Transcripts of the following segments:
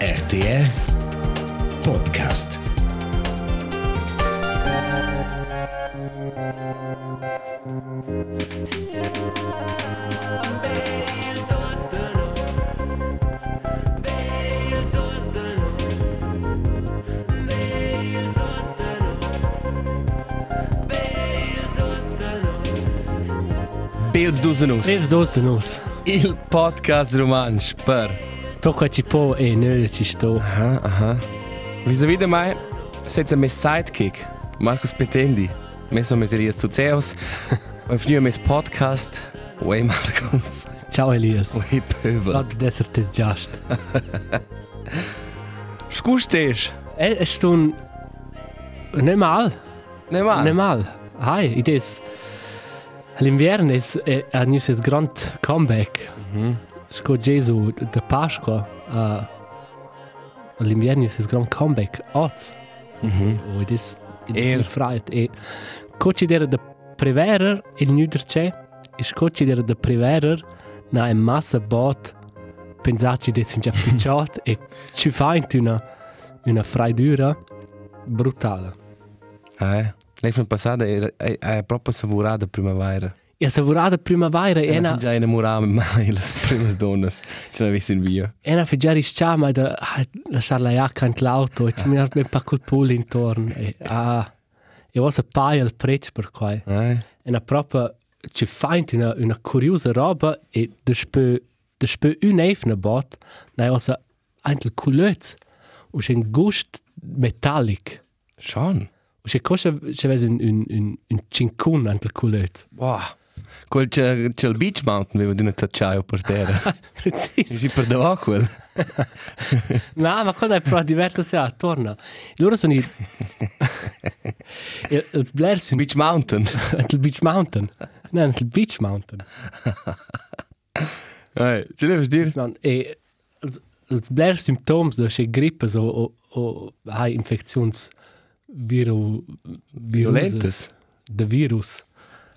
RTR Podcast. Pils Dusenus, Vezi dos de nos. il podcast romansch per. Tocca ci po e noi ci sto. Aha, aha. Vis-à-vis de mai, setze mes Sidekick, Markus Petendi. Mes no meserias zu Zeus. Und früher mes Podcast. Oi Markus, Ciao Elias. oi Pöbel. Lad desert des just. Schkustisch. E stun ne mal, Ne mal. ne mal. Hai, ides. L'inverno è a news is grand comeback. Sco Gesù de Pasqua a l'inverno is grand comeback. Ot. Oh, Mhm. O ides Er. er freit e coci der de preverer il nüder c'è. Is coci der de preverer na en massa bot pensarci des in già picciot e ci fa in una una freidura brutale. Eh. Lei passata era è, è proprio savorata primavera. Ja, savorada primavera E ena non già innamorata mai le prime donne. Ce ne avessi in via. ena figari scia ma da ah, lasciar la jacca in l'auto e ci mi ha ben pa col pool intorno e ah e was a paio al prezzo per qua. Eh. Ena proprio ci fa in una una curiosa roba e despö despö unefne bot, na was a antel kulöz u schon gust metallic. Schon. U schon kosche schon weiß un un un un cincun antel kulöz. Wow. Quel c'è, c'è il Beach Mountain, avevo di una tacciaio per terra. Precis. E si perdeva quel. No, ma quando è però diversa se attorno. E Loro sono i... il, il Blair sono Beach Mountain. il Beach Mountain. No, il Beach Mountain. Eh, ce ne vuoi dire? Man, e, il, il Blair Symptoms, da c'è grippe so, o, o hai infections viru, Violentes. viruses. De virus.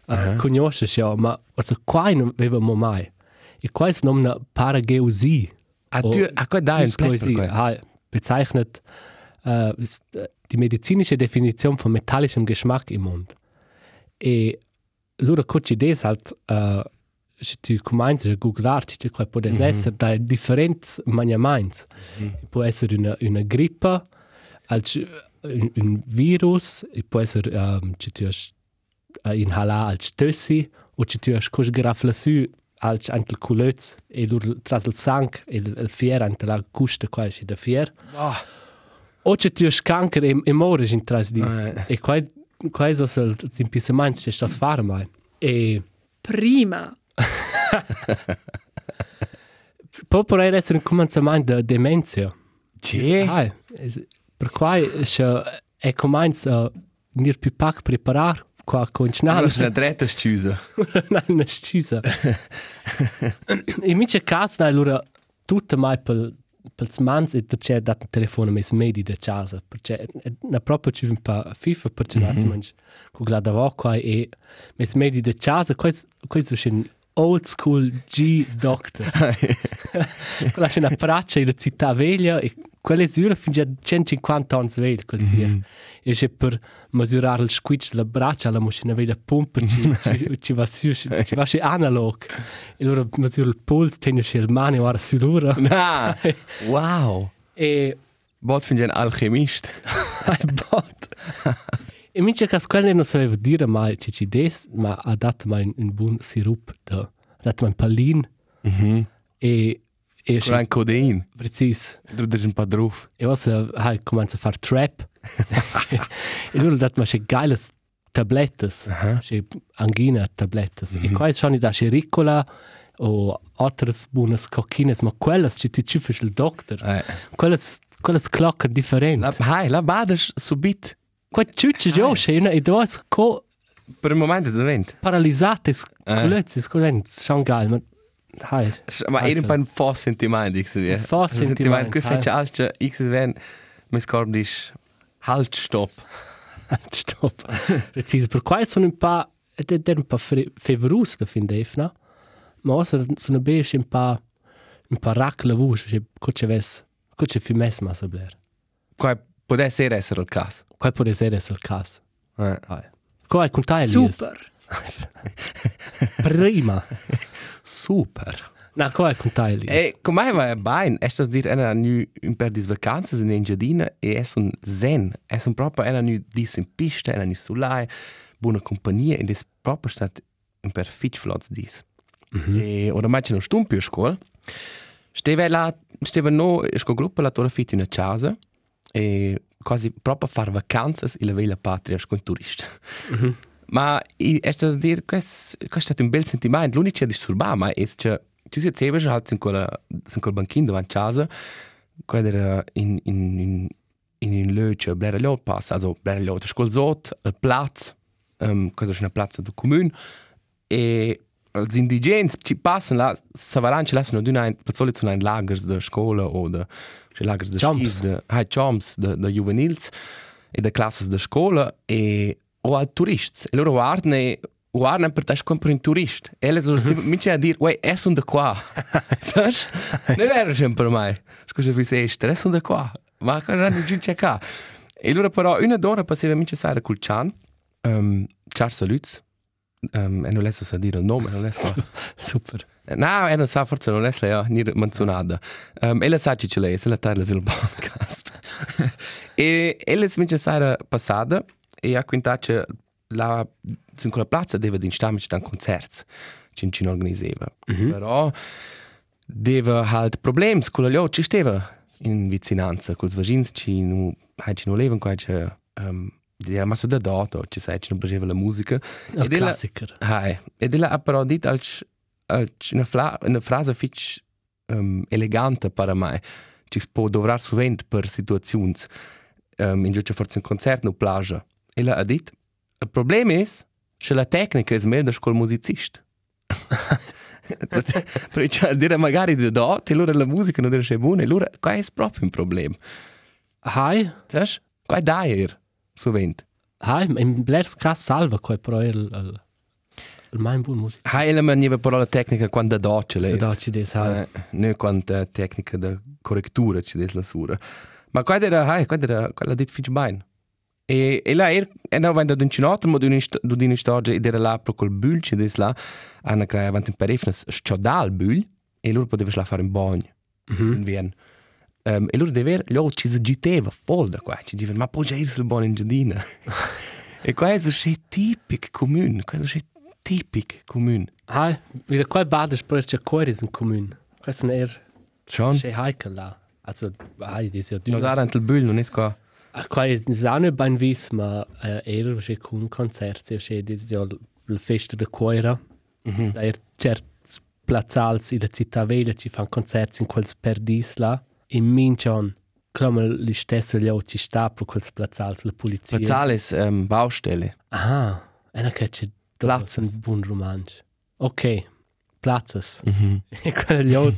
Uh, Conosce ja, ma also, qua non avevamo mai. E qua si nomina parageusia. A tu, ah, a qua dai un plec per Dysgeusie quel. ha- bezeichnet äh, ist äh, die medizinische Definition von metallischem Geschmack im Mund. E loro cucci des halt äh, se tu cominci a googlarti che qual può essere da differenti maniamenti. Può essere una, una grippa, als, un, un virus, e può essere ähm, che tu hast äh, inhalar als Tössi o che tu hast cos grafla su als antel culöz e lur tras il sang e il, il fier ante la custa qua esce da fier. Ah. O che tu hast cancer e, e mores in tras dis. Ah, E qua qua es os il zimpisament che stas fare mai. E Prima. po potrei essere un cominciamento da dementia. C'è? Ah, es- per qua esce e comincia nir più pac preparar qua con Ah, schnarr. non sono drette sciuse. Nein, eine Schüsse. In meinem Katz, nein, Lura, tut mal pel pels mans e c'è dat un telefono mes medi da casa perché na proprio ci un pa FIFA perché mm -hmm. mens cu glada va qua e mes medi da casa questo questo è un old school G doctor quella c'è una praccia in città veglia e quelle sure fin già 150 anni veglia quel sia e c'è per misurare il squitch della braccia alla macchina veglia pompa ci ci- ci va su ci ci va su analog e allora misura il polso tiene c'è il mano ora su l'ora Na. Wow. e Bot finge un alchemist. hai bot e mi cerca quelle non sapevo dire mai ci ci des ma ha dato mai un- un buon sirup da ha dato mai un pallin Mhm. e e Con un codein. preciso Du dir ein paar drauf. E was ha cominciato a fare trap. e lui ha dato ma geile tablettes, c'è angina tablettes. E qua sono da ricola o altre buone cocchine, ma quelle ci ti ci fai il doctor. Eh. Quelle quelle clocche differenti. La, hai, la badas subit. Qua ciucci già c'è una e due co Per il momento da vent. paralizzate Eh. colletti, scolenti, sono geil, ma hai. Ma Hai era un fel. paar fos sentiment, ich sehe. Also Fos sentiment, Che hai. fece alce, ich sehe, wenn mes cordisch halt stopp. Stop. Preciso, per qua sono eh, un po'... ed è un po' fre- fevrus da fin def, no? Ma ossa sono besce un po'... un po' rac la voce, cioè, co c'è ves... Quel c'è fiumes ma sabler. Kaj può essere essere il caso? Qual può essere il caso? Eh. Qual è contai Super. Prima. No, Super. Na, qual è contai lì? E come va bene? È stato dire una nu un per dis vacanze in giardina e è un zen, è un proprio una nu dis in pista, una nu sulai, buona compagnia e des proprio stat un per fitch flots dis. E ora mai c'è uno stumpi a scuola. Steve là, steve no, sco gruppo la tora fit in una casa e quasi proprio a far vacanze in la vela patria sco un turista. Ma i- è stato dire, questo è stato un bel sentimento, l'unico che disturba ma è che tu e sei sempre già in quella in quel banchino davanti a casa, quella era in in in in un luce blera lot passa, also blera lot scuola sot, il platz, e ehm cosa c'è una piazza del comune e als indigens ci passen la savaranci lassen nur ein plötzlich zu ein lagers der schule oder sche lagers der Jumps. de hai jumps de de juvenils e de classes de schule e o al tourists e loro guardne guardne per tas compro un turist e le loro mi c'è a dire uè è son da qua saps ne vero sempre mai scusa vi sei stre son da qua ma cosa non ci c'è qua e loro però una donna passava mi c'è sara col chan ehm Charles Lutz Um, e non adesso sa dire il nome, non adesso. Super. no, Eh, e non sa, forse non adesso l'ha neanche menzionata. Um, e la sa che ce l'è, se la tarda sul podcast. e e la smincia sera passata e ha quintato che la, in quella piazza deve instare un concerto che non ci organizzava. Però deve halt problemi con la ci stava in vicinanza, con i vicini ci non levano qua, che... Um, era massa da dato, ci sai, ci non piaceva la musica. Il Ed ella- classiker. Hai. Ed ella ha però dit als als una, fla, una frase fitch um, elegante para mai. Ci può dovrar suvent per situazions um, in giuce forse un concert no plage. Ella ha dit il problem is che la tecnica es mer da scol musicist. Perché dire magari da da, te loro la musica non riesce buona, e loro qua è proprio un problem. Hai, Sai? Qua da ir suvent. hai, in blers cas salva qual pro il il il mein buon music. Ha ella maniera parola tecnica quando da da ce l'è. Da ci des hai. Eh, nu quant eh, tecnica de correctura ci des la sura. Ma quad era, hai, quad era, quella dit fitch bain. E e la er e no wenn da d'un chinot mo d'un d'un storge ed era la pro col bül ci des la ana crea avant un perifnes schodal bül e lur poteva la fare un bagn. Mhm. In Wien. Um, e lur dever lo ci se giteva fol da qua, ci diver ma poi già ir sul bagn in giardina. e qua è so sche tipic comune, qua è so sche tipic comune. Hai, wieder qual bades pro c'è cuore in comune. Questo è er Schon. c'è hai là. Also, hai des ja Da da antel bül non es qua. A quai is ane bein vis, ma eh, era che kun concert, se che dis ja la festa de coira. Mhm. Da er certs platzals in der città vele ci fan concerts in quels perdis là. In Minchon, come li stesse gli occhi sta pro quels platzals la polizia. Zales ähm, Baustelle. Ah, ena che c'è Platzes. un buon romanzo. Ok, platzes. Mhm. E quella gli occhi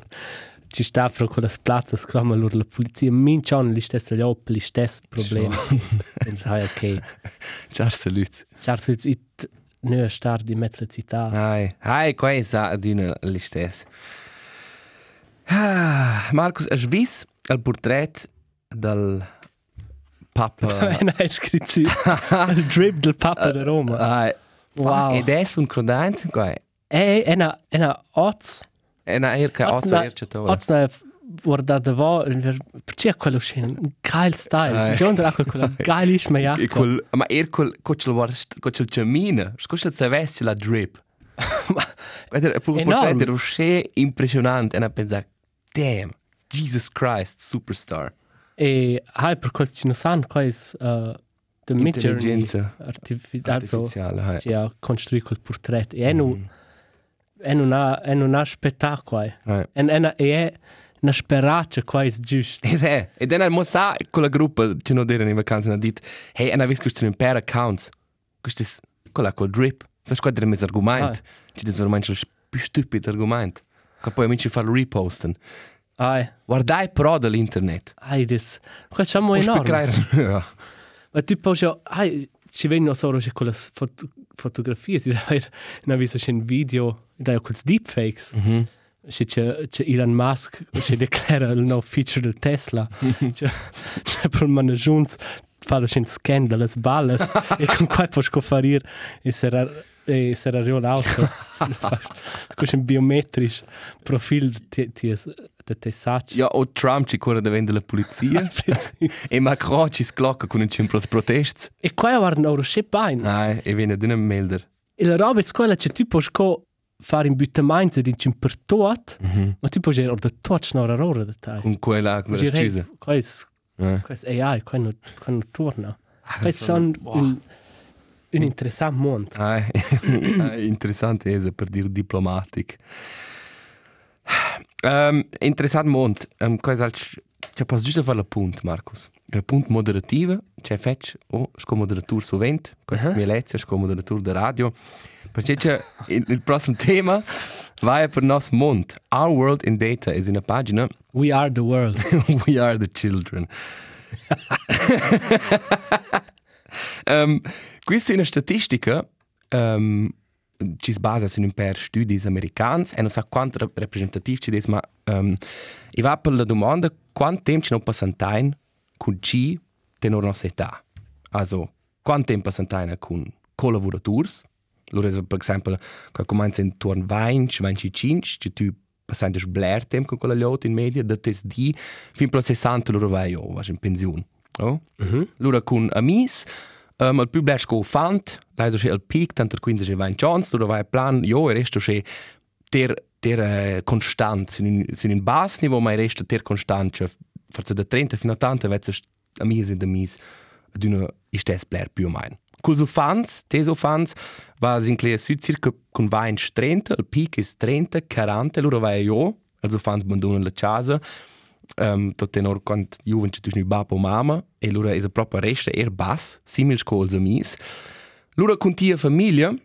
ci sta pro quelles platzes, come loro la polizia. Minchon, li stesse gli occhi, li stesse problemi. Pensai, ok. Charles Lutz. Charles Hütz ist nur stark die Metzler-Zitat. Hai, hai, qua è sa d'una listess. Ah, Marcus, has vist el portret del papa... Wenn er scritto sì. Il drip del Papa di Roma. Ah, Wow. Ed és un crodanz, qua. Ehi, è una, è una oz. E na erca, oz ozza na- erca tova. Oz na guardate voi, perché quello scena? Geil style. Eh. John Draco con la geilissima E jacca. col, ma er col, col, col, col ciamina, scusa se vesti la drip. Guarda, il portrait Enorm. è roché impressionante. E na pensa, damn, Jesus Christ, superstar. E hai per quel ci non sanno, qua è uh, the mid-journey Intelligenza artificiale. artificiale, hai. Che ha costruito quel portretto. E è un- è una- è una spettacolo. eh. Hai. En ena e na sperace qua is giust. Ed è, e dann muss sa con la gruppa ci no dire in vacanza na dit, hey, ana vis questo un per accounts. Questo cola col drip. Sa squadra mes argument. Ci des ormai c'è più stupido argument. Che poi amici fa reposten. Ai, Guardai pro dall'internet. ai des. Qua chamo Puoi enorme. spiegare. Ma tu poi jo, ai ci venno solo che con le foto, fotografie si da na viso schen video, da jo quels deepfakes. Mhm. Se c'è, c'è Elon Musk che declara il nuovo feature del Tesla, c'è, c'è per il giunz fa lo scen scandalo, balle e con qua puoi scoffarire e sarà e sarà real auto. Con un biometrisch profil ti ti te te sacci. Ja, o Trump ci corre davanti alla polizia e Macron ci sclocca con un cimpro di proteste. E qua war no roche pain. Nein, e viene d'un melder. E la roba è quella che tu puoi sco fare in butta mainz ed in cimpertuat, ma tu puoi dire da touch no errore da tai. Con quella, quella scisa. Qua è Eh. Questo AI, quando, quando no torna. Ah, Questo è sono- un, un interessante mondo. Ah, interessant es per dir diplomatic. Um, interessant mond. Um, quais als C'è pas giusto fare la punt, Marcus. La punt moderativa, c'è fetch o sco moderatur sovent, quais uh -huh. mielezia sco moderatur de radio. Perché c'è il, il prossimo tema vai per nos mond. Our world in data is in a pagina We are the world. We are the children. um, questa è una statistica um, ci si basa su un per studi americani e non so quanto rep- rappresentativo ci des, ma um, e va per la domanda quanto tempo ci non passantain con ci tenor nostra età. Also, quanto tempo passantain con collaborators? Loro sono, per esempio, quando comincia intorno a 20, 25, che tu passando a blare tempo con quella lot in media, da tes di, fin pro 60 loro vai, oh, vas in pensione. Oh? Mhm. Loro con amis, um, il più blare sco fant, lei so che il peak, tanto quindi c'è 20 chance, loro vai a plan, io e resto c'è ter, ter eh, constant, sin in, sin in bas niveau, ma il resto ter constant, cioè, forse da 30 fino a 80, vezzo amis ed amis, ad una istes blare più o meno. Col so fans, te so fans, was in clear süd circa con vain 30, il peak is 30, 40, loro vai io, also fans abbandonano la casa, um, tot tenor quant juvent tu nu babo mama, e loro is a proper resta er bas, simil scols amis. Loro con tia famiglia,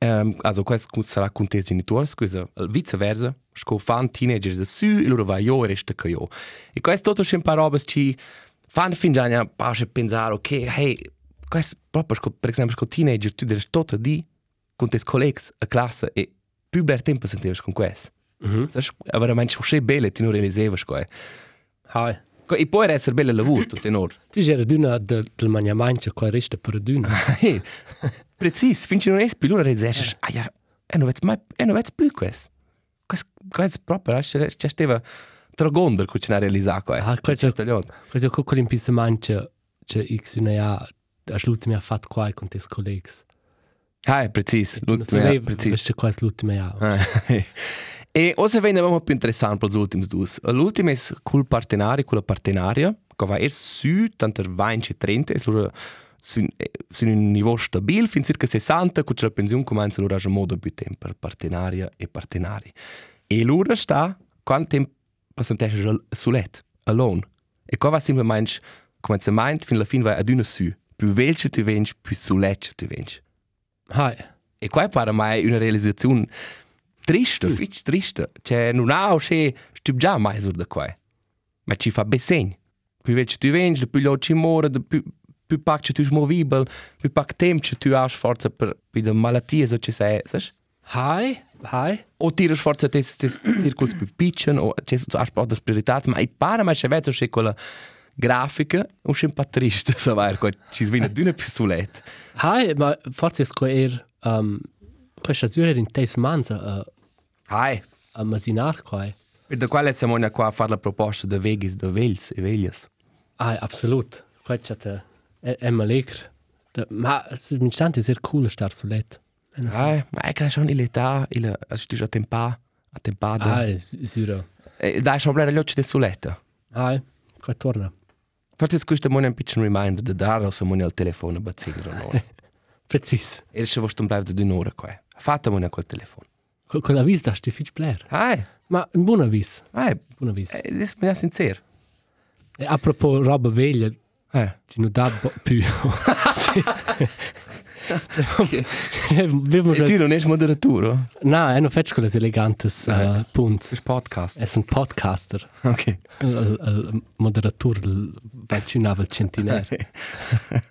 um, also quais cum sarà con tes genitors, quisa viceversa, sco fan teenagers da sü, e loro vai io e resta ca io. E quais toto schem par robes ci fan fin già ne pace pensare, ok, hey, quais proper, sco, per esempio, sco teenager, tu deres tota di, con tes collegs a classe, e più bel tempo sentives con quais. Mhm. Saš, a veramente še bele, ti no realizevas kaj. Hai. Ko i E poi essere belle lavoro tutto in ordine. Tu c'era d'una del, del mangiamento qua resta per d'una. Ah, Hey, precis, finché non espi l'ora realizesas, ah ja, e non vets mai, e non vets più quest. Quest, quest proprio, c'è c'è steva tragonder che ce n'ha realizzato qua. Ah, questo- Questo con quell'impisamento c'è X una A, a l'ultima ha fatto qua con te colleghi. Ah, precis, l'ultima, ja, precis. Questo qua è l'ultima A. Ah, e ora viene un po' più interessante per gli ultimi due. L'ultimo è col partenario, con la partenaria, che va erst su, tanto 20 e 30, e loro sono su un livello stabile, fin circa 60, con la pensione comincia loro a modo più tempo per partenaria e partenari. E loro sta, quanto tempo passano su letto, alone. E qua va sempre meins, come si meint, fin alla fine vai ad una su. Più velce tu vengi, più su letto tu vengi. Hai. E qua para mai una realizzazione triste, mm. fitch triste. Cioè, non ha o se stup già mai sur da qua. Ma ci fa besen. Più vecchio tu vengi, più lo ci muore, più più pac che tu smovibile, più pac tempo che tu hai forza per più da malattie so che sei, sai? Hai. Hai. O tiras forza tes tes circoli più piccoli o c'è so hai prodotto priorità, ma i para mai se vedo se quella grafica un scimpa triste, so vai qua ci svina d'una più sulet. Hai, ma forse è qua er um, questa zura in teis manza a, Hai. a masinar qua. Per da quale siamo noi qua a fare la proposta da vegis, da veglis e veglias? Hai, absolut. Questa te è, è malegre. Da, ma l'instante è cool star su let. Ah, ma è che sono in età, il studio a tempa, a tempada. Hai, sicuro. E dai, sono bella gli occhi del suletta. Hai, qua torna. Forse questo è un piccolo reminder da dare o se al telefono bazzingro no. Precis. E se vuoi stumblare da un'ora qua. Fatamone col telefono. Con, con la vis da sti fitch player. Ah, Ma un buona vis, ah, eh, buona vis. adesso mi è sincero. E a propos roba veglia, Eh. ci non dà bo- più. Vivo E tu non es moderatore? No, non faccio quelle eleganti uh, punti. Questo podcast. È un podcaster, Ok. il- il il moderatore del vicino al centinaire.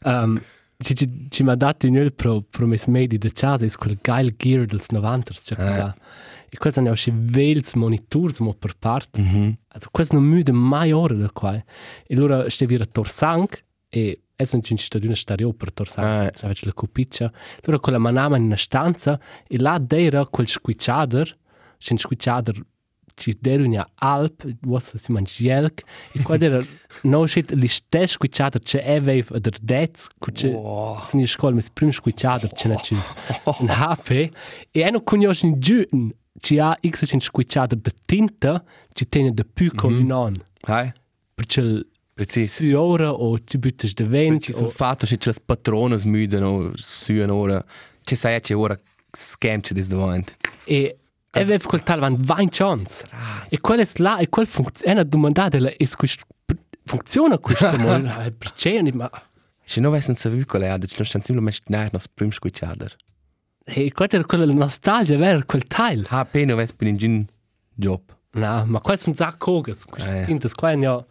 um, ci, ci, ci mi ha dato un pro, promesso medi da casa, è quel geil gear del 90 cioè Ah. quella. E questo ne ho scelto vels monitors mo per parte. Mhm. Also questo non müde mai ora da qua. eh. E allora stevi a Torsank e adesso non ci sono una stadio per Ah. Torsank, cioè faccio la copiccia. Allora con Torej, la manama in una stanza e là dera quel squicciader, c'è un squicciader ci dera una alp, was si mangielk e qua dera no shit li stes squicciader c'è evave der dez, c'è Wow. sono in scuola mis prim squicciader c'è una c'è un HP e hanno conosci in giù ci ha x c'è un squicciader de tinta ci tiene de più con non Hai? perché Precis. su ora o ci butti de vent Ci sono fatto che le patrone smudono su un'ora. Ci sai che ora scamci des davanti. e aveva quel tal van 20 chance e qual è là e qual funziona domandate la è questo funziona questo mal perché non e ma Se non avessero saputo qual è, ci non stanno semplicemente nel nostro primo squicciader. e qua era quella nostalgia vera quel teil Ha appena avessero per un job. no ma qua sono da Ah, cogas ja. questo stinto qua ja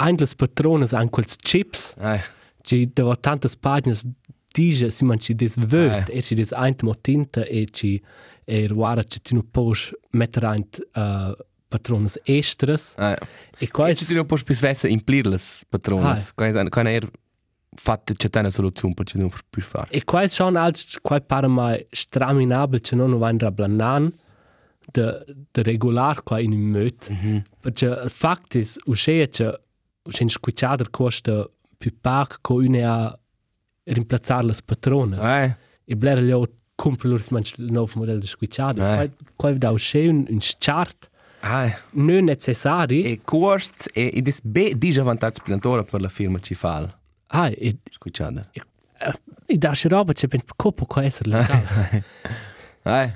Eindles Patrones an quels Chips, Hai. ci da tantas pagines dice si man ci des Ah, ja. völt, e ci des eint mo tinta e ci e ruara ci tinu posch metter eint uh, Patrones estres. Hai. E qua E ci sono poi più svesse in plirles patrone. Hai. Quando è fatta c'è una soluzione per non più fare. E qua è schon als qua para mai straminabel che non vandra blanan de de regular qua in möt. Mhm. Perché il fact is usche che usche scuciader costa più pac co une a rimplazzar las patronas. Hai. E blera leo complurs man il nuovo modello di scuciader. Ah. Qua qua da usche un un chart Hai. non necessari. E cost e in des be dice vantaggio plantore per la firma ci fa. Ah, e Squicciader. e da sche roba che ben copo qua essere Eh. legal. Hai.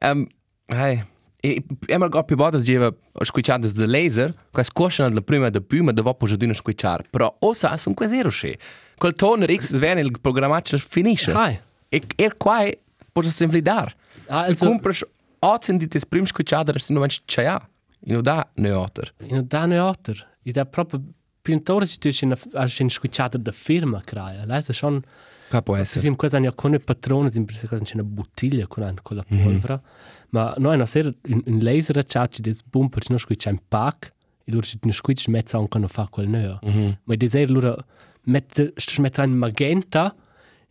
Um, hai. E emmer go più bodas geva squicciadas de laser, quas coscian la prima de più, ma de vopo giudina squicciar. Però o sa sun quasi roche. Quel toner X svene il programmatcher finisce. Hai. E er quai posso semplidar. Ah, Ah, also- also compras ozen di tes prim squicciader sin moment chaja. Ino no da neoter. In da ne otter. I da proprio pintore ci tuci na a sin scucciata da firma craia. Lei sa schon Capo esse. sim cosa ne con patrone sim per cosa c'è una bottiglia con an con la polvere. Ma noi una sera un, un laser chat des bumper no scuccia un pack. E loro ci ne scuccia mezza un cono fa quel neo. Ma di sera loro mette smetta in magenta.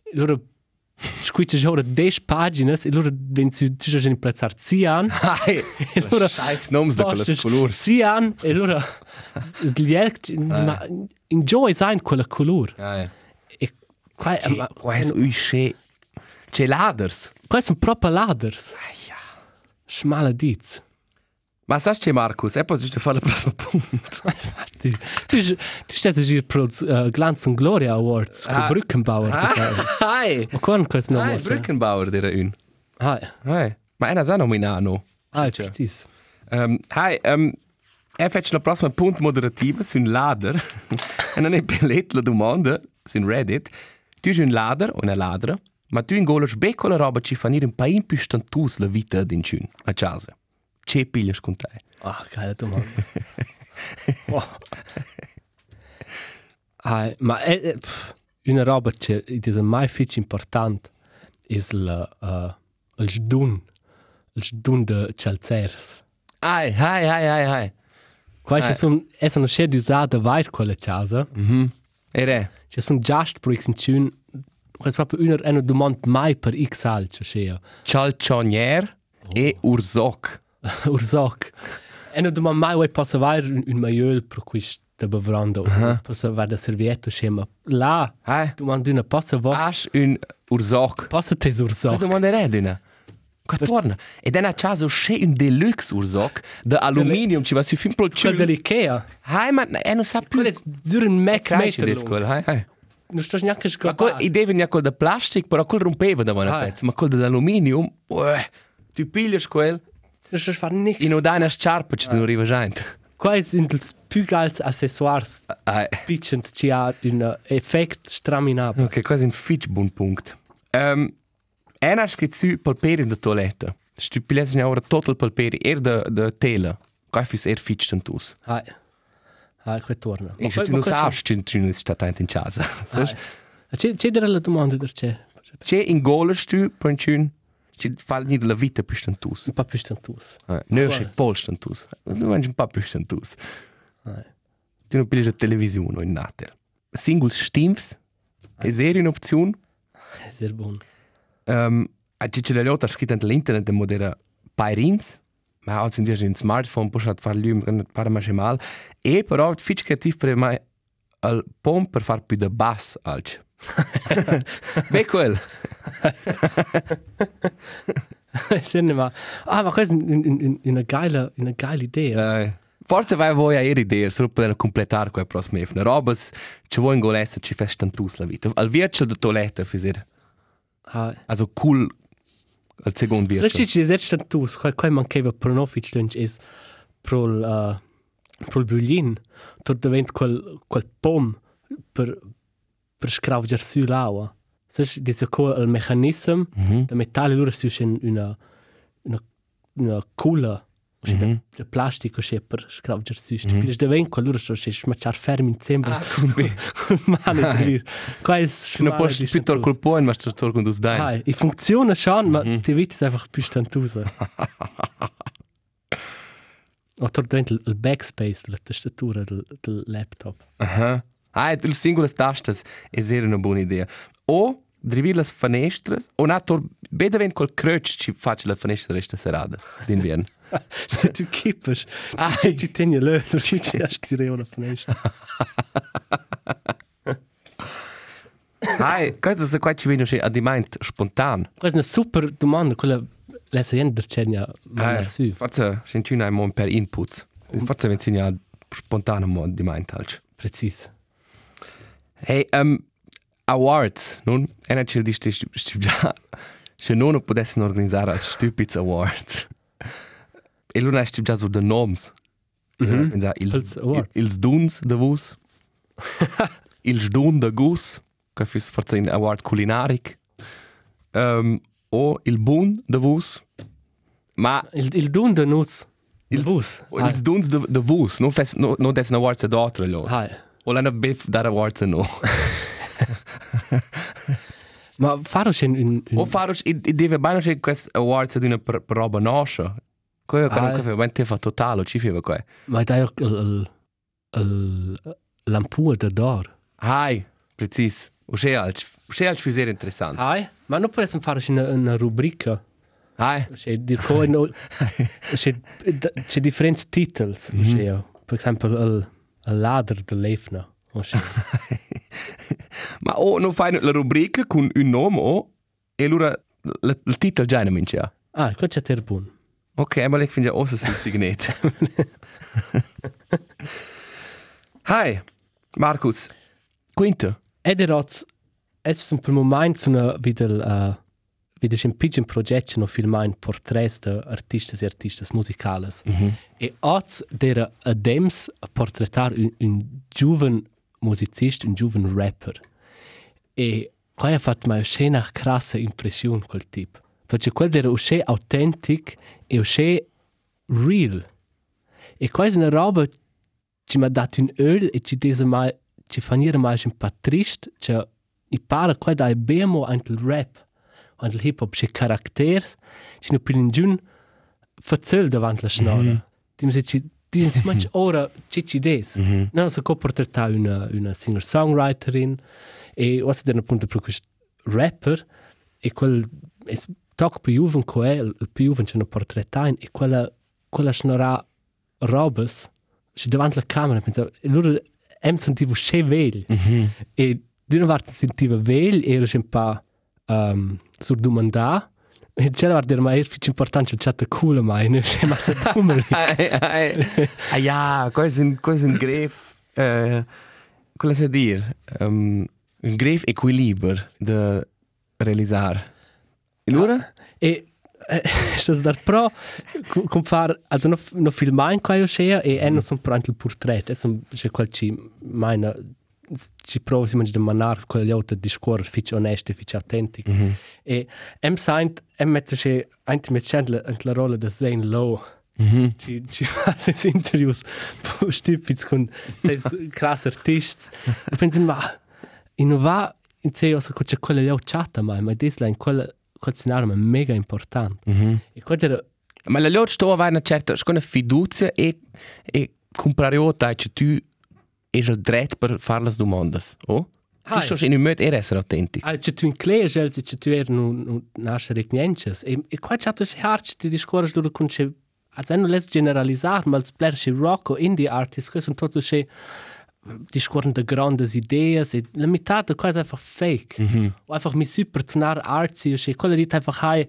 e Loro scuccia già ora 10 pagine e loro vengono ci sono in plazzar zian. Hai. Allora- Scheiß noms de Postisch. colas colors. Sì, an, e allora l'elect Ah, ma enjoy sein quella color. Hai. E qua ma- Quais usche. Celaders. qua sono proprio laders. Schmala diz. Ma sai che Markus, E, è possibile fare il prossimo punto. Tu tu stai a dire pro äh, Glanz und Gloria Awards con Ah. Brückenbauer. Ma Hai! con questo Hai, nome. Brückenbauer der un. Ah, Hai. No, Ma è una sana nominano. ah, precis. Um, hai, um, è faccio il prossimo punto moderativo su un lader. e non è pellet la domanda su un Reddit. Tu sei un lader o una ladra, ma tu in golo sbecco la roba ci fa nire un paio più stantus la vita di un cun, a casa. C'è piglias con te. Ah, geile domanda. Wow. Ah, no? Oh. ma è, è pff, una roba che è mai più importante è il, uh, il sdun, il sdun di Chalcers. Hai, hai, hai, hai, hai. Qua Ah. c'è un, è una scelta usata vai quella casa, E re. c'è un giast per X in Cun, è proprio una, una domanda mai per X al c'è. Cialcionier e Urzoc. Ursak. En du man mai passa var un majol pro quist da bevrando. Passa var da servietto schema. La, Hai. du man duna passa vos. Aš un urzoc. Passa tes Pa Ursak. domanda redina. Kaj torna? E dena času še un deluxe urzoc da aluminium, če vas je fin Quel de pročil. l'Ikea. Hai, ma eno sa Quel più. est sur un mec Kaj še meter deskol, lung. hai, hai. Nu stas njakke Ma kol, skapa. ideva nja kol da plastik, però kol rompeva da mona Hai. pec. Ma kol da aluminium, ueh, tu pigliaš kol Nu stas far nix. in odana ščarpa, če ti ne riva žajnt. Quai sind els pügals accessoires. Hai. Pitchens ci ha un effekt straminab. Ok, quasi un fitch bun punct. Um, ena scrizu palperi in da toaletta. Stupilesi nja ora total palperi, er da, da tela. Kaj fis er fitch tantus. Hai. Hai, quai torna. Ich tu nu sagst, tu tu nu sta tant in casa. Sag, C'è, c'è della domanda da c'è? C'è in gola stu penchun, ci fa ni della vita più stantus. Un po' più stantus. Noi c'è fol stantus. Tu mangi un po' più stantus. Eh. Tu non pigli la televisione in nater. Single stimps. È serio un'opzione? È sehr buono. Um, c'è c'è la lotta scritta all'internet in modera pairins. Ma oggi in dia un smartphone può far lui un par ma mal. E però è fitch creativ per mai al pom per far e più da bass alch. Beh quel. Senne mal. Ah, ma questa è un- un- un- una geile, una geile idea. Eh, Forse vai voi a era idea, se potete completare quella prossima efna. Robes, ci vuoi in golessa, ci fai tantus la vita. Al virtual da toilette, fisir. Ah, Also cool, al secondo Se virtual. ci sei stantus, qual qual mancheva pronofic lunch es pro l uh, pro l bullin, tot davent quel quel pom per per scrauger su l'aua. Se ci dice quel il meccanism Mhm. da metallo loro si uscen una una una culla Mhm. de plastico che per scrauger su. Mm -hmm. Pil davent quel loro so si smacciar fermi insieme. Ah, Combi. Mane Hai. dir. Qual è Non puoi più tor col pon, ma sto tor con dus Hai, dai. i funziona schon, ma ti vedi einfach più stantusa. Oder dentro il backspace della tastatura del, del laptop. Aha. Ah, il singolo tastas è era una buona idea. O drivir las fenestras, o na tor bedaven col crutch ci faccio la finestra resta serata d'inverno. Se tu kippes, Ai. ci tieni l'olio, ci ci astirei una finestra. Hai, cosa se qua ci vino a diment spontan. Questa è una super domanda, quella lesa jender c'è ma Eh, su. Forse sentiamo un per input. Forse mi insegna spontaneo mod di mind touch. Precis. Hey, um, awards, non? E non c'è di sti sti già. Se non potessero organizzare al Stupids Awards. E lui non già so de noms. Mhm. Pensa Als il Awards. il duns de vus. Il stun de gus, che fis forse in award culinaric. Um, o il bun de vus. Ma Il, il dun da nus. Il vus. Und jetzt tun sie den Wuss, nur fest, nur, nur dessen Awards der Daughter lässt. Hai. Und dann biff der Awards noch. Ma faro c'è un... un- Und Faros, ich, ich deve beinahe schon quest Awards in einer Probe naschen. Quello che non Ah. capivo, ma te fa totale, ci fai qua. Ma dai auch il... il, il Lampua da d'or. Hai, precis. Und c'è altro, c'è altro fisere interessante. Hai, ma non possiamo fare una, una rubrica. Hai, C'è di come no, c'è, c'è differenti titoli. Mm -hmm. Per esempio, il, il ladro dell'Efna. ma o non fai la rubrica con un nome o, e allora la- il titolo già non mi c'è. Ah, qua c'è Terbun. Ok, ma lei finge ossa sul signet. Hai, Markus. Quinto. Ed è rotz, è un per momento su una vita uh, vita c'è un piccolo progetto che non filma in portrait di artisti e artisti musicali. Mm -hmm. E oggi era a Dems a portrettare un, un giovane musicista, un giovane rapper. E qua ha fatto una scena crassa impressione quel tipo. Perché quel era uscì autentico e uscì real. E qua è una roba ci mi ha dato un öl e ci dice mai ci faniere mai un po' trist che i pare qua dai e bemo anche il rap anche il hip hop c'è caratteri ci non più nessun fazzol davanti alla schnora ti mi ci ti si ma ora ci ci des non so come portare una una singer songwriterin e was der appunto per questo rapper e quel è toc più juven coe il più juven c'è una portretain e quella quella schnora robes și davanti la camera pensavo e loro em sentivo che vel e di una parte sentivo vel era un po' um, sur domanda e c'era parte era mai più importante il chat cool mai ne c'è ma se come Ai, ai. ah ja, questo è un, questo è un gref... Eh, cosa si dir? Um, un gref equilibrio da realizzare. E allora? e sta dar pro com far also no no filmar in quaio shea e en son prant il portrait e son c'è qual ci meine ci provo si mangi de manar quella liota di scuor e fic oneste fic autentico e em saint em mette che anche mit chandler und la rolle da Zane Lowe ci ci fa ses interviews po stipiz con ses krass artist pensin ma innova in CEO so c'è quella lì chatta mai, ma desla in quella quel scenario è mega importante. Mhm. E quando era Ma la loro sto avendo una certa scona fiducia e e comprariota che tu es il dret per far las domandas, o? Tu Hai. sos in un mod er essere autentico. Ah, če tu inkleje žel, če tu er nu, nu naše reknjenčes. E, e qua čato še harč, ti diskoraš duro kun še, a zdaj no les generalizar, mal spler še rocko, indie artist, kaj sem toto še diskoran de grandes ideas, e la mitad de quasi einfach fake. Mm -hmm. O einfach mi super tunar artsy, še kolle dit einfach hai,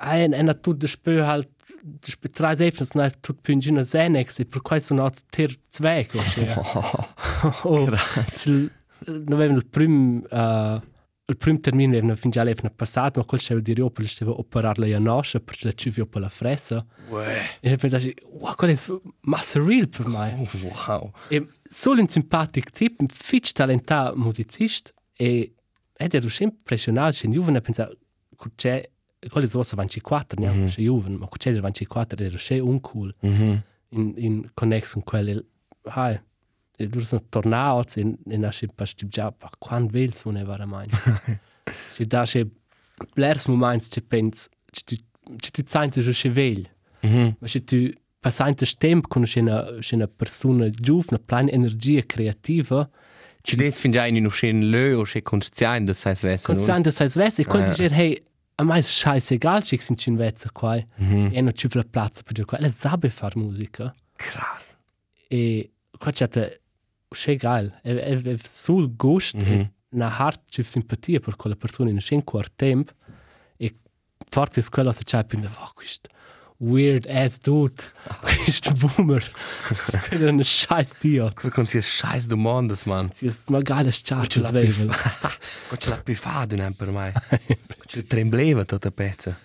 hai en ena e, tu de spö halt, de spö tre selbst, na tu pünjina zenex, e per quai so naut ter zweig, o še. Ah, eh. oh, Oh, Sil- Noi avevamo il primo, uh, il primo termine, avevamo fin già l'anno passato, ma quel c'era di Riopel, stava a operare la Janoscia per la civio per la fressa. Uè, E poi dici, wow, quello è s- massa real per me. wow. E solo un simpatico tipo, un fitch talentato musicista, e ed ero sempre impressionato, c'è un giovane, pensavo, che c'è, quello è solo 24, neanche c'è giovane, ma che c'è 24, era c'è un cool Mhm. in, in connexion quelle hai e du sono e, tornato in in a che pasti già pa quan vel so ne vara mai si da che blers moments che pens che tu senti che che vel Mhm. ma che tu passante stemp con che una che una persona giovane plan energia creativa Ci des fin già in un schön lö o che conscien das heißt con wesen. sante sai svesse e quando Ja. dice hey a mai scheiße egal che sind chin vezza qua Mhm. e non ci vla platz per qua la sabe far musica Krass. e qua c'è te c'è geil e, e, e sul gusto mm -hmm. Mhm. una hart c'è simpatia per quella persona in un quart tempo e forse è quello che c'è più oh, questo weird ass dude questo boomer quello è un scheiß dio Cosa consi scheiß du mondes man. si è una geile charge la svevel Ko ce la pifà d'un an per mai. Ko ce trembleva tutta pezza.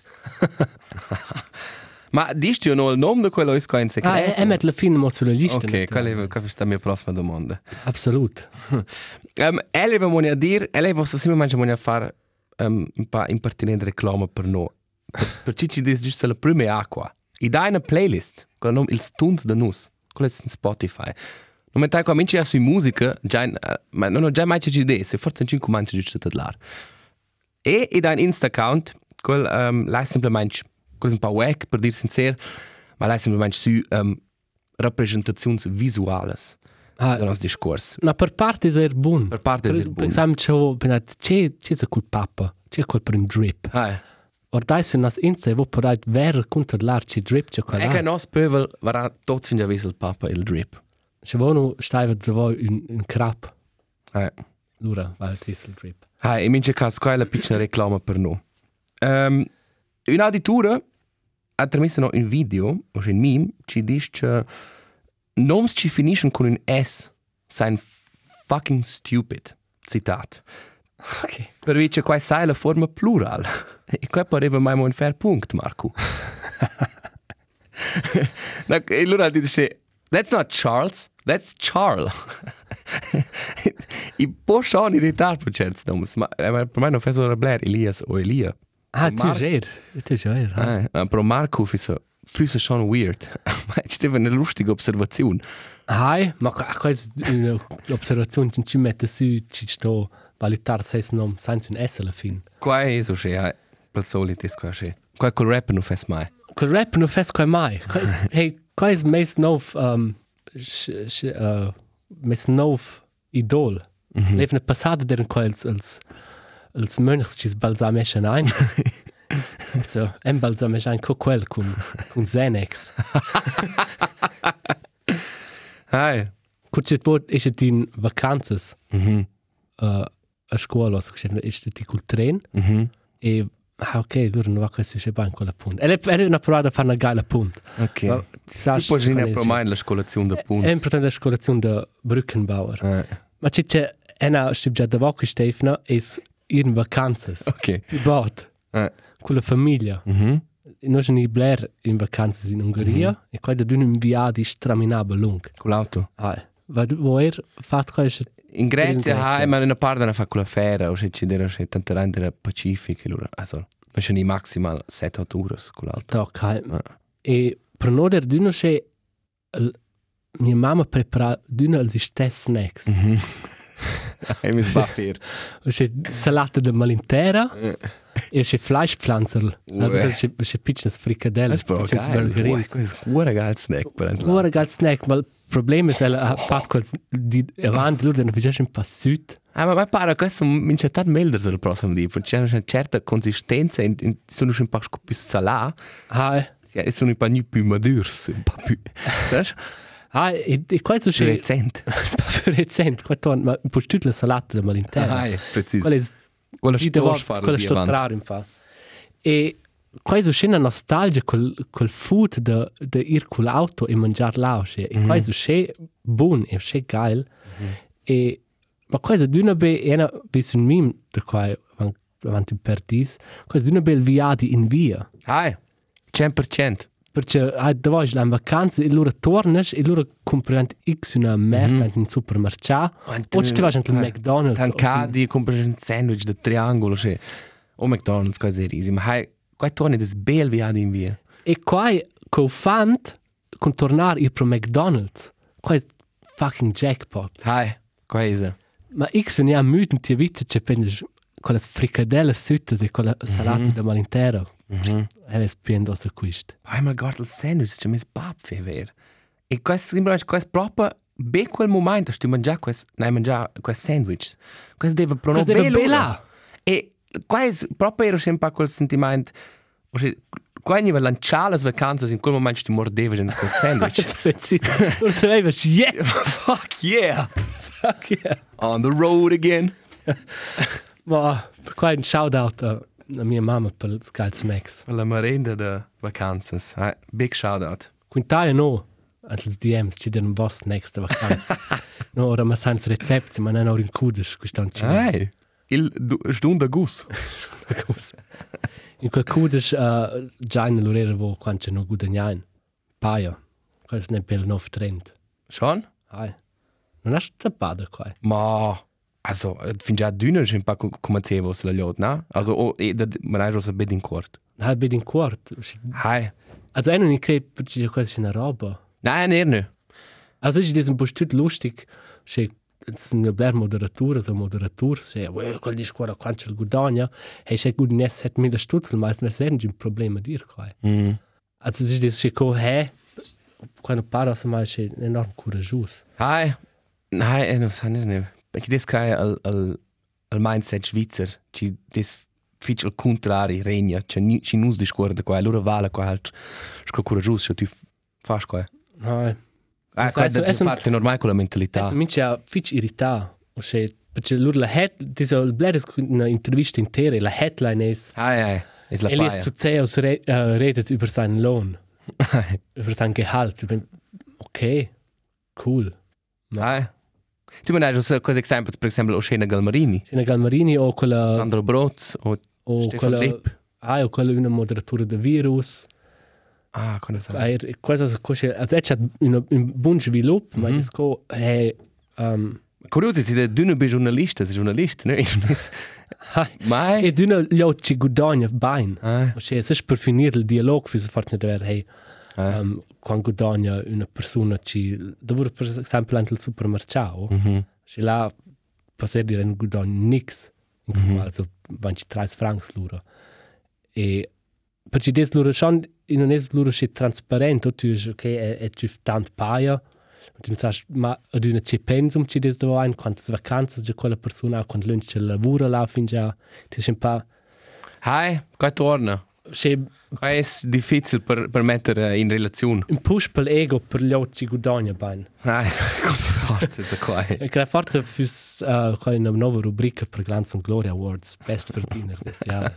Ma dici o no il nome di quello è in ah segreto? è è met la fine mo sulla lista Ok, quella è questa è la mia prossima domanda. absolut Um, ele va a dire, ele va sempre mangia a fare um, un po' impertinente reclama per noi. Per, per ci ci dice giusto la prima acqua. I dai una playlist, con il nome Il Stunz da Nus, quello è su Spotify. Non mettai qua minci a sui musica, già, in- eh, ma non ho già mai ci idee, se forse in cinque mangi giusto da là. E i dai un Insta-account, quel um, lai semplicemente, quello è un po' wack, per dire sincero, ma lai semplicemente su um, rappresentazioni visuali del ah, nostro discorso. ma per parte è buon Per parte è buon. per esempio c'è c'è col pappa c'è col per un drip Ah, Ordaj se nas ince vo porajt ver kunter larči drip Ecco, il čokolad. nostro popolo verrà tutto in avviso il papa e il drip. Še vonu štajva drvo in, in krap. Eh. Lura, val tisel drip. Ah, in mince caso, qua è la piccola reclama per noi. Um, un auditore ha trasmesso un video, o un meme, øh, ci dice che nomi ci finiscono con un S, sono fucking stupid. Citat. Ok. Per cui c'è qua sai la forma plurale. E qua pareva mai un fair punto, Marco. No, e allora ti dice, that's not Charles, that's Charles. I può sono in ritardo per certi nomi, ma eh, ma per me non fa solo Blair, Elias o Elia. Ah, tu Mar- žer. Tu žer. Ah. Eh, ma per Marco fisse, fisse schon weird. ma c'è una lustige osservazione. Hai, ma kaj je observacion, če čim mete si, če to valutar se snom, sanj un esel fin. Qua è eso eh, che hai, per solito è qua che. eh, Qua col rap non fa mai. Kol rap no fest kaj maj. Hej, kaj je mes nov, um, š, š, uh, mes nov idol. Mm -hmm. Levne pasade deren kaj als, als, als mönchs čez balzameschen ein. so, en balzameschen ko quel kun, kun Zenex. Hai. Kutschet bot ist et in vacances. Mhm. Uh, a scuola, so che ist et col tren. Mhm. E, ah, ok, loro non va questo c'è banco la punta. E è una provata a fare una gala punta. Ok. Ma ti sa Tu puoi qual è dire il- per me la scolazione da punti. È importante la scolazione da Brückenbauer. Eh, Ma c'è c'è una stipgia da Woche Stefano e in vacanze. Ok. Privat, Eh, con la famiglia. mhm. Noi siamo in Blair in vacanze in Ungheria e qua da un inviato straminabile lungo. Con l'auto. Ah, ma tu vuoi fare questo? In Grecia, In Grecia. hai, ma in una parte non fa quella fera, o se ci dirà che tante rende era pacifica, allora, also, non sono i maximal 7-8 ore con l'auto. Tocca. Ah. E per noi da un c'è mia mamma prepara d'una al stesso snacks. Mhm. Hai mis papir. C'è salata de malintera e c'è fleischpflanzerl. Also Ue. das c'è c'è piccines frikadelle. Das war piccines geil. Bulgarins. Das ist ein guter geiler Snack. bei einem Ora Land. galt snack, mal Problem ist, weil er hat kurz die er Wand, Lur, dann bist du ein paar Süd. Ah, ma pare che sono minciatat melder sul prossimo dì, perché c'è una certa consistenza, in, in, sono un po' più salà, Hai, e sono un po' più madurs, un po' più, sai? hai, e qua so Più c'è recente. per recent, qua ton, ma postut la salata mal intera. Ah, preciso. Qual è Quella storia fare quella sto trare un po'. E qua so c'è una nostalgia col col food de de ir col auto e mangiar lausche. E qua so c'è buon e c'è geil. E ma quasi di una be è una bis un meme da qua avanti per dis, quasi di una bel viadi in via. Ah, 100%. Perché ah, da voi in vacanza e loro tornano e loro comprano X una merda mm -hmm. in supermercato. O ci vai eh, anche al McDonald's. o se- Tancadi, compri un sandwich da triangolo, cioè. O McDonald's, quasi risi. Ma hai, qua torni das bel via in via. E qua con Fant con tornare il pro McDonald's. Qua è fucking jackpot. Hai, qua è se. Ma X non è müde in tia vita c'è pensi con le fricadelle sütte e con la salata mm -hmm. da malintero. Mhm. E è spendo da questo. Hai mal guardato il sandwich, c'è mis papfe, ver. E questo sembra, questo proprio, be quel momento, sti mangia questo, ne mangia questo sandwich. Questo deve prono Questo deve bella. E qua è proprio ero sempre a quel sentimento, o se, qua è nivel lanciare le vacanze, in quel momento ti mordevi in quel sandwich. Non sapevo, yes! Fuck yeah! Fuck yeah! On the road again. Ma qua un shoutout a, a mia mamma per il Sky Snacks. La merenda de vacances. Eh, Big shout out. Quintaia no, als DMs ci den boss nächste Vakanz. no, ora ma sans Rezept, ma non ora in Kudisch, gestan ci. Hey. Il du- Stunde Guss. In quel Kudisch uh, giain l'orera vo quanto no guadagnain. Paia. Quas ne pel nov trend. No, Schon? Ai. Non hast zappada qua. Ma. Also, äh, fin già dünner schon pa kommerziell was la lot, na? Also, oh, eh, dat man hai rosa bed in court. Ha bid No, ja, in quart. Hai. Also einen ich krieg per ci quasi una roba. Nein, er nö. Also ist diesen bestimmt lustig, che es ne bler Moderatur, so Moderatur, che we quel di scuola quanto il guadagna, e che gut nes hat mir das Stutzel meist nes sind ein Problem mit dir kai. Mhm. Also es ist das che ko hä quando para so mal che enorm courageous. Hai. Hai, er nö, san er nö. Ich des kai al al al mindset Schweizer, ci des fitch al contrari regna, ci ni- ci nus discorda qua, e allora vale qua halt. Sco coraggioso, ci tu fas qua. Nein. Ah, Also, qua also, da ci essen- parte normale con la mentalità. Also mich ja fitch irrita, o che perché lur la hat diese bler ist eine Interviste intere, la headline ist Ai, ai, e es la Elias paia. Zuzeus re äh, redet über seinen Lohn. über sein Gehalt. Ich bin, okay, cool. Ai. Tu manai giusto quasi esempio, per esempio, Oscena Galmarini, Cine Galmarini "Oh, o quella... Sandro Broz o O Stefan quella... Lipp. Ah, o quella una moderatura del virus. Ah, con esa. Ah, e- Questa è cosa... Also, c'è un un buon sviluppo, ma Mhm. è co... Hey, um, Curioso, si de dünne bi giornalista, si giornalist, ne? Ich nis. Mai. e d'una lot ci guadagna bene. Ah, Cioè, se per finire il dialogo, fai forse di avere, hey, Ah. um, quando guadagna una persona ci... Lavora per esempio anche al supermercato. mhm. Și la poate dire nu gudan nix. Mhm. Mm -hmm. Also wenn ich 30 francs lura. E per ci des lura schon in un es lura che transparent tu is okay e e ci tant paia. Und du sagst, ma er ad una ci pensum ci des um da ein quantas vacanzas de quella persona con lunch la vura la fin già. Ti sem pa Hai, qua torna. che Qua es difficil per per mettere in relazione. un push pel ego per gli occhi guadagna ben. Ai, cosa forte esa qua. E che forza fis uh, quella una nuova rubrica per Glanz und Gloria Awards best verdiener des Jahres.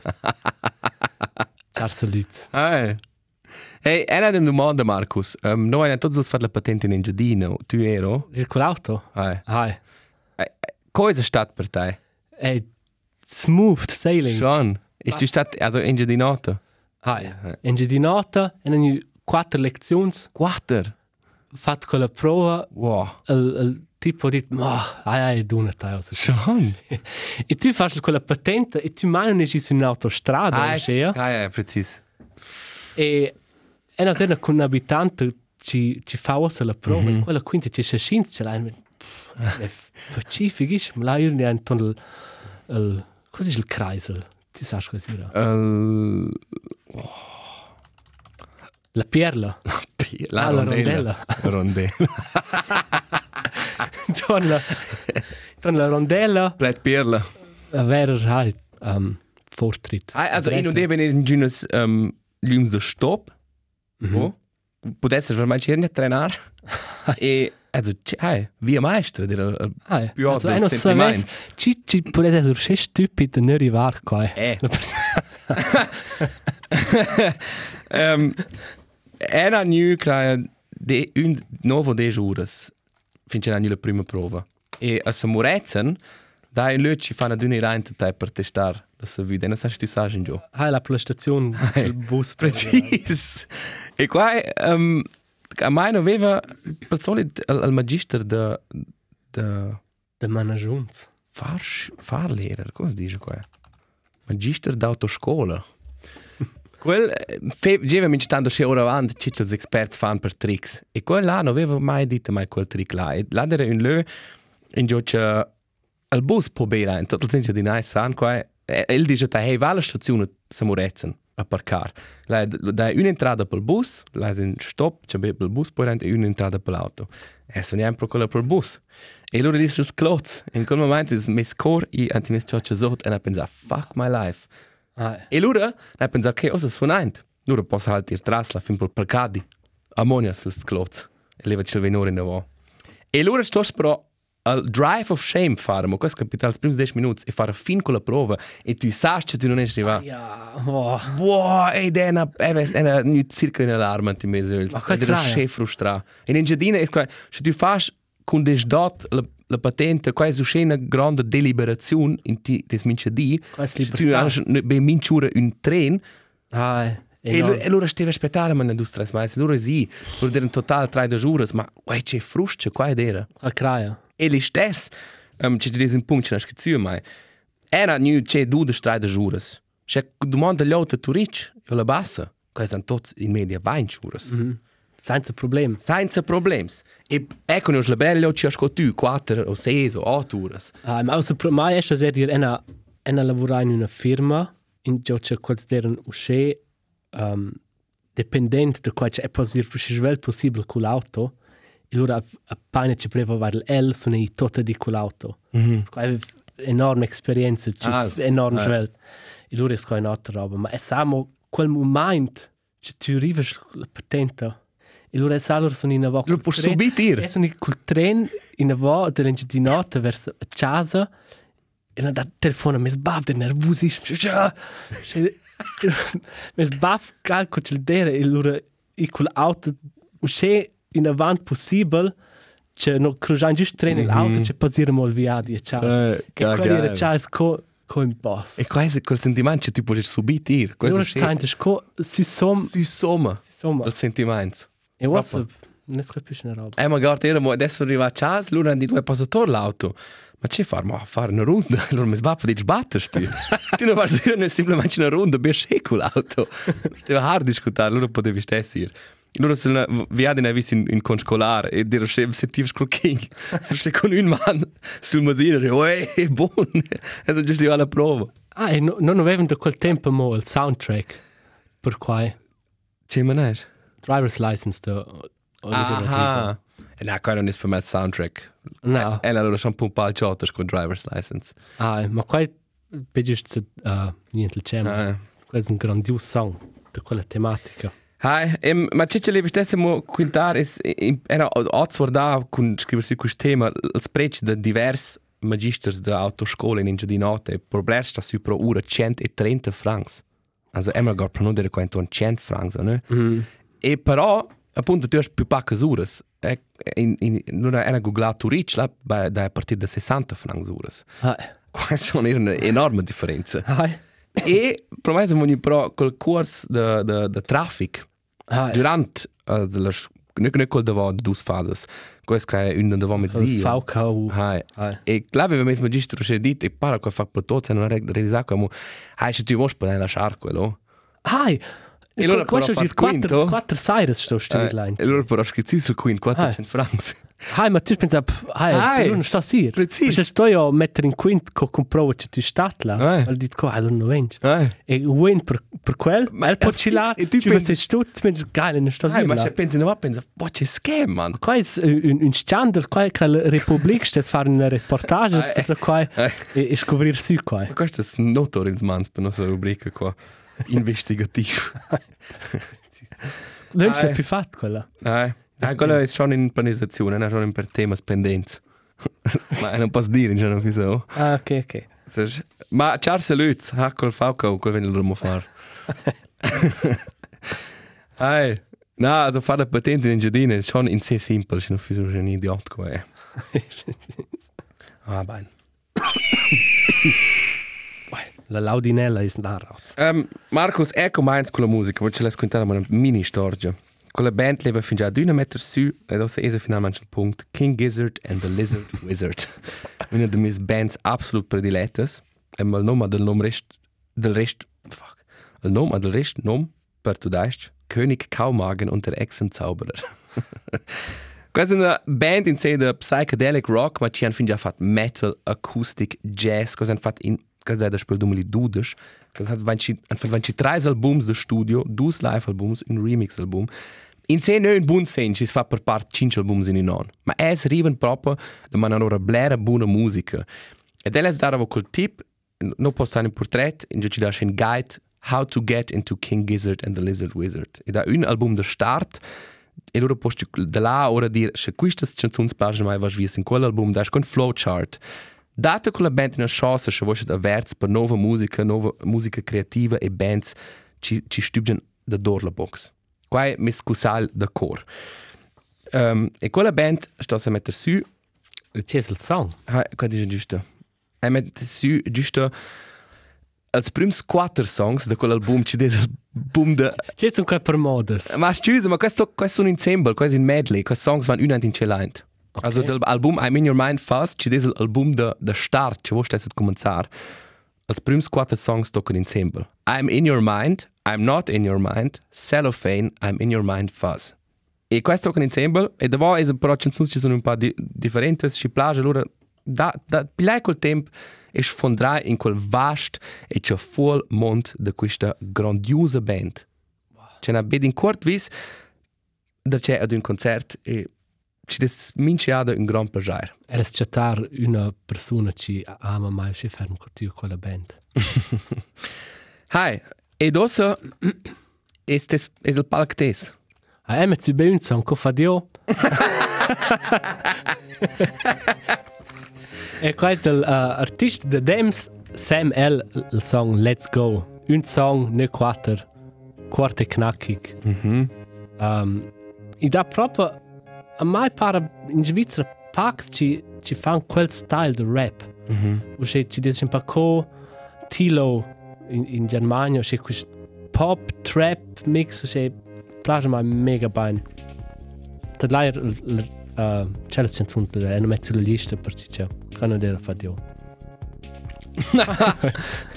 Charles Lutz. Ai. Hey, E era dem domanda Markus. Um, noi hanno tutti fatto la patente in giardino, tu ero. Dir col auto? Ai. Hai. Cosa è stato per te? Ey, smooth sailing. Schon. Ist die Stadt, also in die Note? Hai. Enge di nota, e ogni quattro lezioni Quater. fatto con la prova, Wow. il, il tipo dit, ma, hai, hai, duna tai, also. Schon. E tu fai quella patente e tu mai non esci su un'autostrada, Ah, ossia? ja, ja, präzis. E è una sera con un abitante ci, ci fa ossa la prova, mm -hmm. quella quinta ci si scinde, ce l'hai, pacifichisch, ma la io ne anton il il cos'è il kreisel? Ti sai cos'è ora? Uh, La perla, la Ah, la rondella. La rondella. ton la ton la rondella, Bleibt Pirla. a verer halt ähm Vortritt. Ah, Also, in und eben in Gynus ähm, Lüms der Stopp. Wo? Potesse, weil manche nicht trainieren. e, also, hey, wie Meister, der äh, Ah, più also altro uno il sapesse, ci ci potete essere sei stupidi non arrivare qua. Eh. ähm, era nu crea de un novo de juras. Finché era nu la prima prova. E a Samurezen da in luci fanno d'una irante tai per testar la sua vita. Non sa se tu sa in gio. Ah, la prestazione eh. del bus Precis. E qua um, a mai non aveva per solito al, al magister de de de management. far farlehrer, cosa dice qua? Magister d'autoscola. Quel eh, geva minch tanto che ora avanti ci tutti esperti fan per tricks. E quel là non aveva mai detto mai quel trick là. E là era un lö in gioce al bus po bera in tutto il senso di nice san qua. E- El dice ta hey vale stazione samurezen a parcar. La da un'entrata per bus, la è un stop, c'è per bus poi rente un'entrata per l'auto. E sono neanche quella per bus. E loro disse il clotz. In quel momento mi scor e anti mi scoccia sotto e ha pensato fuck my life. Ah, E loro ha pensato che cosa suonante. Loro posso halt ir tras la fin per parcadi. Ammonia sul clotz. E leva il venore inavo. E loro sto però al drive of shame farmo, questo capitale, i primi 10 minuti e fare fin con la prova e tu sai che tu non esci va. ja, boah. Wow, ed è una, è una, è una, una circa in allarme ti mese. Ma Ed kaj era traja? še frustra. In in giardina è qua, se tu fas con des dot la, la patente, qua è su una grande deliberazione in ti des mince di. Qua è Se tu libertà. has be minciura un tren Ah, e lo- enorm. e loro steve aspettare ma non du stress mai, loro sì, loro der in total 3 ore, ma qua c'è frustra, qua ed era. A kraja. E li stes, um, če ti res in punč, naš kicijo maj. Era nju, če du da štraj da žuras. Še domanda ljota turič, jo la basa, kaj zan tots in media vajn žuras. Mm -hmm. Senza problem. Senza problems. E ecco ne la bella ci asco tu 4 o 6 o 8 ore. Ah, ma also pro mai ist das ja dir einer einer lavora in una firma in Georgia kurz deren usche ähm dependent da quasi è possibile più svel possibile col auto e loro a pane ci preva var el sono i tota di col auto. Mhm. Quai enorme esperienza, ci Ah, enorm ah. svel. E loro è sco in altra roba, ma è samo quel moment che tu arrivi la patente E loro salor sono in avvocato. Lo puoi subito dire. E sono col treno in avvocato dell'engine di notte verso casa e hanno dato il telefono, mi sbavde, nervosissimo. Mi sbavde, calco il dere e loro in quell'auto uscì in avanti possibile che non crociamo giusto no, il treno e l'auto che passiamo al via di casa. Mhm. Eh, E quello cagare. era Charles co- come E boss. E quasi quel sentimento che tu puoi subito ir. Loro Quello c'è. sentono, co- si sono... Si somma Si sono... il sentimento. E WhatsApp, non so più se ne roba. Eh, ma guarda, io adesso arriva a casa, lui ha detto, passato l'auto. Ma c'è far, ma fare una ronda? Allora mi sbappa, dici, battersi tu. tu non fai solo semplicemente una ronda, ben sceco l'auto. Stava hard discutare, allora potevi stessi ir. Allora se la viade ne avessi in, in conscolare e dire se sentivi scrocking, se sei con un man sul "Eh, masino, e uè, buon, e sono giusto alla prova. Ah, e no, non avevano da quel tempo mo il soundtrack per quai C'è manai? driver's license da Oliver Ah, Aha. E Eh, no, qua non è per me il soundtrack. Rodrigo. No, E allora sono un po' al ciotto con driver's license. ah, ma quai peggio uh, niente il cema. Ah. Questo è un grandioso song da quella tematica. Hi, um, ma c'è levi stesse mo quintar is im- era ozzor da con scriversi questo tema il sprech da divers magisters da autoscola in India di notte probler sta su pro ora 130 francs. Also einmal gar pro nodere quanto 100 francs, ne? Mm. E però appunto tu hai più pacche ures. E in in non era googlato rich la ba- da a partire da 60 francs ures. Ah, Questa è un'enorme differenza. ah, e promesso mo ni pro col corso da da da traffic ah, Durant, äh, also, das- nicht, nicht cool, da war die Ausphase. Gut, keine Ünde, da war mit il dir. VKU. Hai. Hai. E clave avem mesmo gistro și dit, e para că fac pe toți, nu are realiza că mu, hai și tu voș până la șarcu, lo. Ah, E allora questo però è il far quinto? Eh, quattro quattro sires sto stile E lor per scriți sul queen Hai. 400 francs. Hai, ma tu pensa, pff, hai, Hai. hai. non sta sir. Precis. Se sto io a mettere in quinto co comprova che tu stat là, Hai. al dit co, hai, non vengi. Hai. E win per per quel, Ma- ma il poci là, e tu tu pensi- pensi stutz, pensi geil, non sta Ai, sir. ma là. se pensi no, pensa, boh, c'è scam, man. Qua è un, un standard, qua è che la Repubblica sta a fare una reportage, Hai. da qua e, Hai. e scoprir su qua. Ma questo è notor in mans per nostra rubrica qua. Investigativo. Non c'è Hai. più fatto quella. Nein. Ah, quello è schon in Panisation, è schon per Themas Pendenz. ma e non posso dire, non no? wieso. Ah, ok, ok. Sers- Ma Charles Lutz, ha col Fauco, quel wenn lo far. Ai. Na, also fa da patente in Giardine, è schon in se simple, non wieso un idiot qua è. Ah, bene. La Laudinella è una razza. Um, Markus, ecco meins con la musica, voglio ce la scontare una mini storia. Con la band leva fin già ad una meter su, e ed ossa esa finalmente il punto, King Gizzard and the Lizard Wizard. Una de mis bands absolut predilettes, e mal nome del nom rest, del rest, fuck, il nome del rest nom, per tu daist, König Kaumagen und der Echsenzauberer. Questa è una band in sé di psychedelic rock, ma ci hanno fin già fatto metal, acoustic, jazz, cosa hanno fatto in... Cosa è da spiel dumeli dudes? Cosa hat vanci... Hanno fatto vanci tre albums da studio, due live albums, un remix album. In sé non è un buon senso, si fa per parte cinque albums in non. Ma è arrivano proprio da manare blera buona musica. Ed è dare quel tip, non posso stare in portrait, in giù ci dà un guide, How to get into King Gizzard and the Lizard Wizard. E da un album da start, e loro posto da là ora dire se questa canzonspagina mai vas vies in quell'album da con flowchart date con la band una chance se vuoi avverts per nuova musica nuova musica creativa e bands ci ci stübgen da door la box qua mi scusal da cor um, e quella band sta se metter su C'è il song. ha qua dice giusto ha metter su giusto als prims quattro songs da quell'album ci des album da C'è un qua per modas. Ma scusa, ma questo, questo è un ensemble, questo è un medley, questi songs vanno un'anno in cell'ant. Okay. Also l'album I'm in your mind fast, c'è l'album da, da start, c'è vostra a cominciare. Als prims quattro songs toccano ensemble. I'm in your mind, I'm not in your mind, cellophane, I'm in your mind fast. E questo toccano ensemble, e dopo è però canzoni ci sono un po' di, differenti, ci piace, allora da, da, pilai quel tempo e sfondrai in quel vast e c'è full mondo di questa grandiosa band. C'è una bed in kort vis da c'è ad un concert e ci des mince ad un gran plaisir. Era scattar una persona che ama mai si ferm con tu quella band. Hai, ed ossa es des es il palk tes. A me ci be un song co fa dio. E qua è l'artista de Dems Sam L il song Let's Go. Un song ne quater. Quarte knackig. Mhm. Um, I da proprio a mai pare in Svizzera pax ci ci fan quel style de rap. Mhm. uscì ci dice un po' co Tilo in, in Germania cioè, uscì questo pop trap mix uscì piace ma mega bene da là c'è la canzone da lei non metto sulla lista per ci c'è quando era fatto io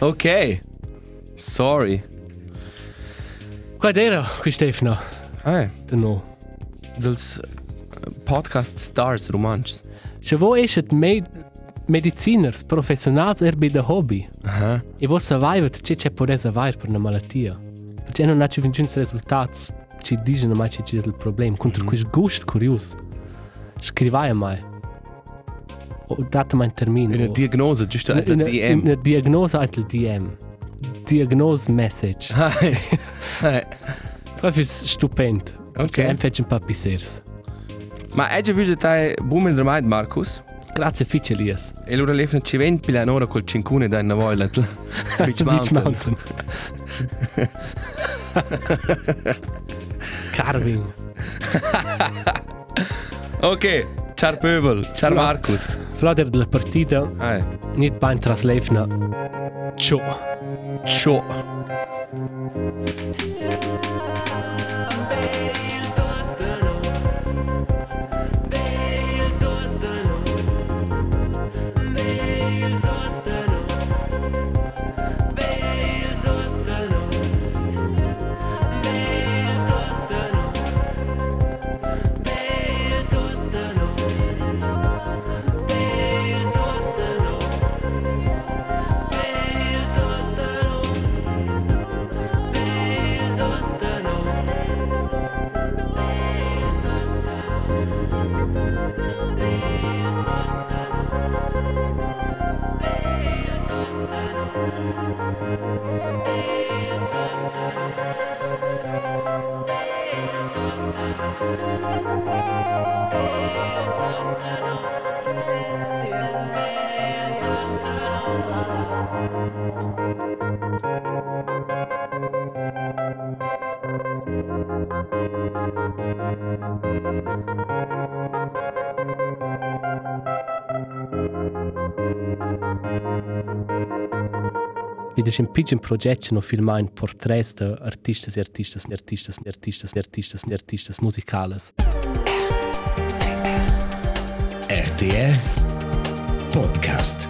Ok. Sorry. qua era qui Stefano Hai, da no dels eh, podcast stars romans. se voi esce er med mediciners professionals er bi da hobby Aha. e voi survive c'è c'è pure survive per una malattia perché non ha ci vincenza risultati ci dicono mai c'è il problema contro questo gusto curioso scrivai mai o datemi un termine Una o- diagnose giusto una, ein una, DM. una diagnose anche il DM diagnose message Hai. Hai. Ah. proprio stupendo Ok. e faccio un po' pissers Ma e, oggi vi stai boom in der Mind Markus. grazie fice Elias E loro lefna ci vent pilanora col cincune da Navoiland. Beach Mountain. carving Ok, ciao Pöbel, ciao Markus. Flader della partita Hai. nicht beim Traslevna ciao Ciao. Thank you Wieder ist ein bisschen Projekt noch viel mehr Porträts e der Artisten, Artisten, Artisten, Artisten, Artisten, Artisten, Musikales. RTR Podcast.